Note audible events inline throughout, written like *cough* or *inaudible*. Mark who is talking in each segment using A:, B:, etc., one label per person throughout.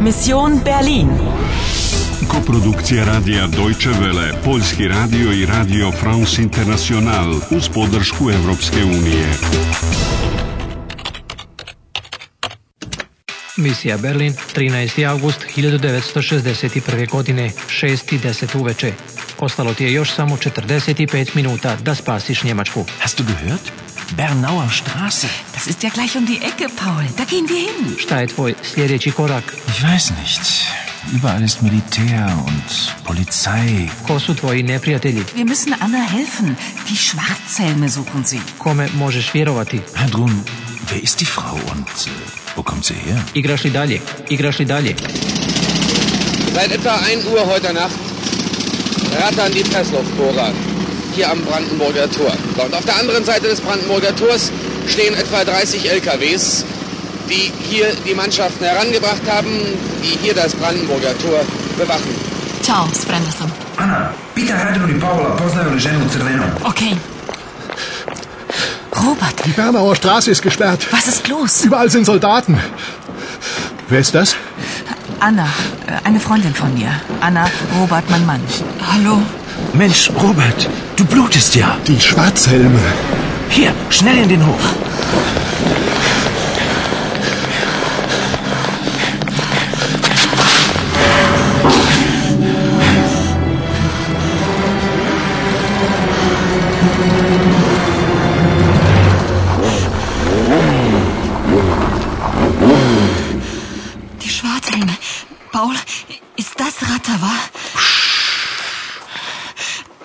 A: Mission Berlin.
B: Koprodukcija radija Deutsche Welle, Poljski radio i radio France International uz podršku Europske unije.
C: Misija Berlin, 13. august 1961. godine, 6. 10 uveče. Ostalo ti je još samo 45 minuta da spasiš Njemačku.
D: Hast du gehört? Bernauer Straße.
E: Das ist ja gleich um die Ecke, Paul. Da gehen wir hin.
C: Šta je tvoj sljedeći korak?
D: Ich weiß nicht. Überall ist Militär und Polizei.
C: Ko su tvoji neprijatelji?
E: Wir müssen Anna helfen. Die Schwarzhelme suchen sie.
C: Kome možeš vjerovati?
D: Herr Drum, wer ist die Frau und äh, wo kommt sie her?
C: Igraš li dalje? Igraš li dalje?
F: Seit etwa 1 Uhr heute Nacht rattern die Pressluftbohrer an, hier am Brandenburger Tor. So, Und auf der anderen Seite des Brandenburger Tors stehen etwa 30 LKWs, die hier die Mannschaften herangebracht haben, die hier das Brandenburger Tor bewachen.
E: Ćao, spremna sam.
G: Ana, pitaj Radimir i Paula poznaju li ženu u crvenom.
E: Okay. Robert,
H: Die Bernauer Straße ist gesperrt.
E: was ist los?
H: Überall sind Soldaten. Wer ist das?
E: Anna, äh, eine Freundin von mir. Anna, Robert, mein Mann. Hallo.
D: Mensch, Robert, du blutest ja.
H: Die Schwarzhelme.
D: Hier, schnell in den Hof.
E: Die Schwarzhelme. Paul, ist das Rattawa?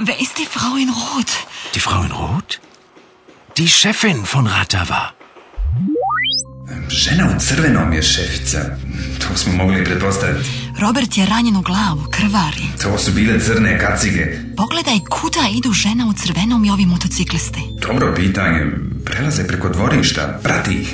E: Wer ist die Frau in Rot?
D: Die Frau in Rot? Die Chefin von Ratava.
G: Žena u crvenom je šefica. To smo mogli i pretpostaviti.
E: Robert je ranjen u glavu, krvari.
G: To su bile crne kacige.
E: Pogledaj kuda idu žena u crvenom i ovi motociklisti.
G: Dobro pitanje. Prelaze preko dvorišta, prati ih.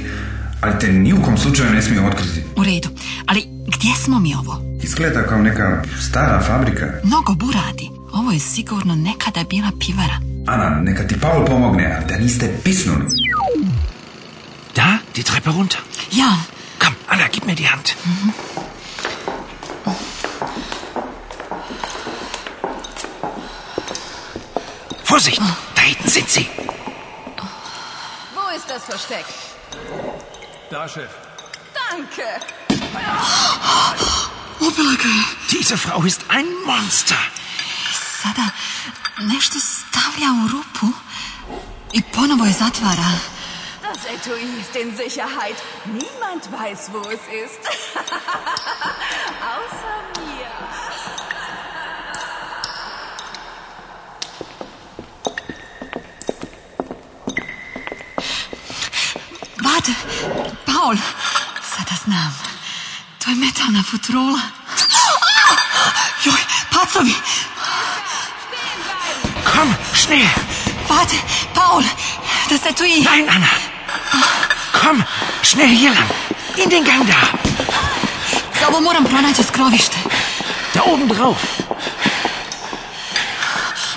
G: Ali te ni u kom slučaju ne smiju otkriti.
E: U redu, ali gdje smo mi ovo?
G: Izgleda kao neka stara fabrika.
E: Mnogo buradi. Ovo je sigurno nekada bila pivara.
G: Ana, neka ti Paul pomogne, a da niste pisnuli.
D: Da, die Treppe runter.
E: Ja,
D: Komm, Anna, gib mir die Hand. Vorsicht, da hinten sind sie.
I: Wo ist das Versteck?
G: Da, šef.
E: *gasps*
I: Danke.
D: Diese Frau ist ein Monster.
E: sada nešto stavlja u rupu i ponovo je zatvara.
I: Das Etui ist in Sicherheit. Niemand weiß, wo es ist. *laughs* Außer mir.
E: Vade, Paul, sada znam. To je metalna futrola. Ah! A! Joj, pacovi!
D: Komm, schnell.
E: Vade, Paul, da se tu i...
D: Nein, Anna. Komm, schnell hier lang. In den Gang da.
E: Za ovo moram pronaći skrovište.
D: Da oben drauf.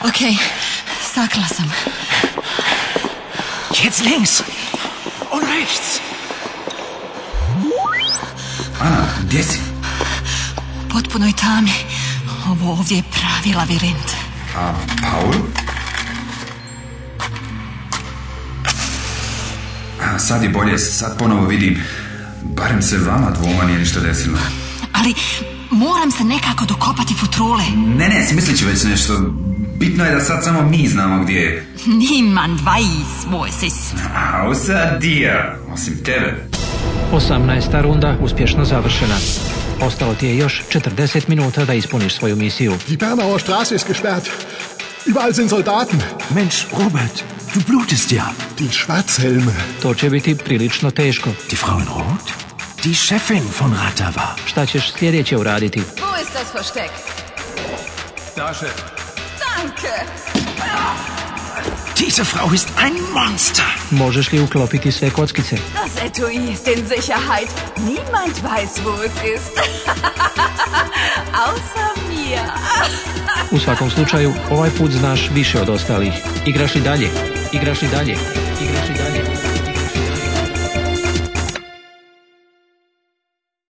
E: Okej, sakla sam.
D: Jetzt links. Und rechts.
G: Ana, gdje si?
E: Potpunoj tami. Ovo ovdje je pravi labirint.
G: A Paul? A, sad je bolje, sad ponovo vidim. Barem se vama dvoma nije ništa desilo.
E: Ali moram se nekako dokopati futrole.
G: Ne, ne, smislit ću već nešto. Bitno je da sad samo mi znamo gdje je.
E: Niemand weiß, wo es ist.
G: Außer dir, osim tebe.
C: 18. runda uspješno završena. Ostalo ti je još 40 minuta da ispuniš svoju misiju.
H: Die Bernauer Straße ist gesperrt. Überall sind Soldaten.
D: Mensch, Robert, du blutest ja.
H: Die Schwarzhelme.
C: To će biti prilično teško.
D: Die Frau in Rot? Die Chefin von Ratava.
C: Šta ćeš sljedeće uraditi?
I: Wo ist das Versteck? Da, Chef. Danke.
D: Diese Frau ist ein Monster.
C: Možeš li uklopiti sve kockice?
I: Das Etui ist in Sicherheit. Niemand weiß, wo es ist. *laughs* Außer mir.
C: U svakom slučaju, ovaj put znaš više od ostalih. Igraš li dalje? Igraš li dalje? Igraš li dalje?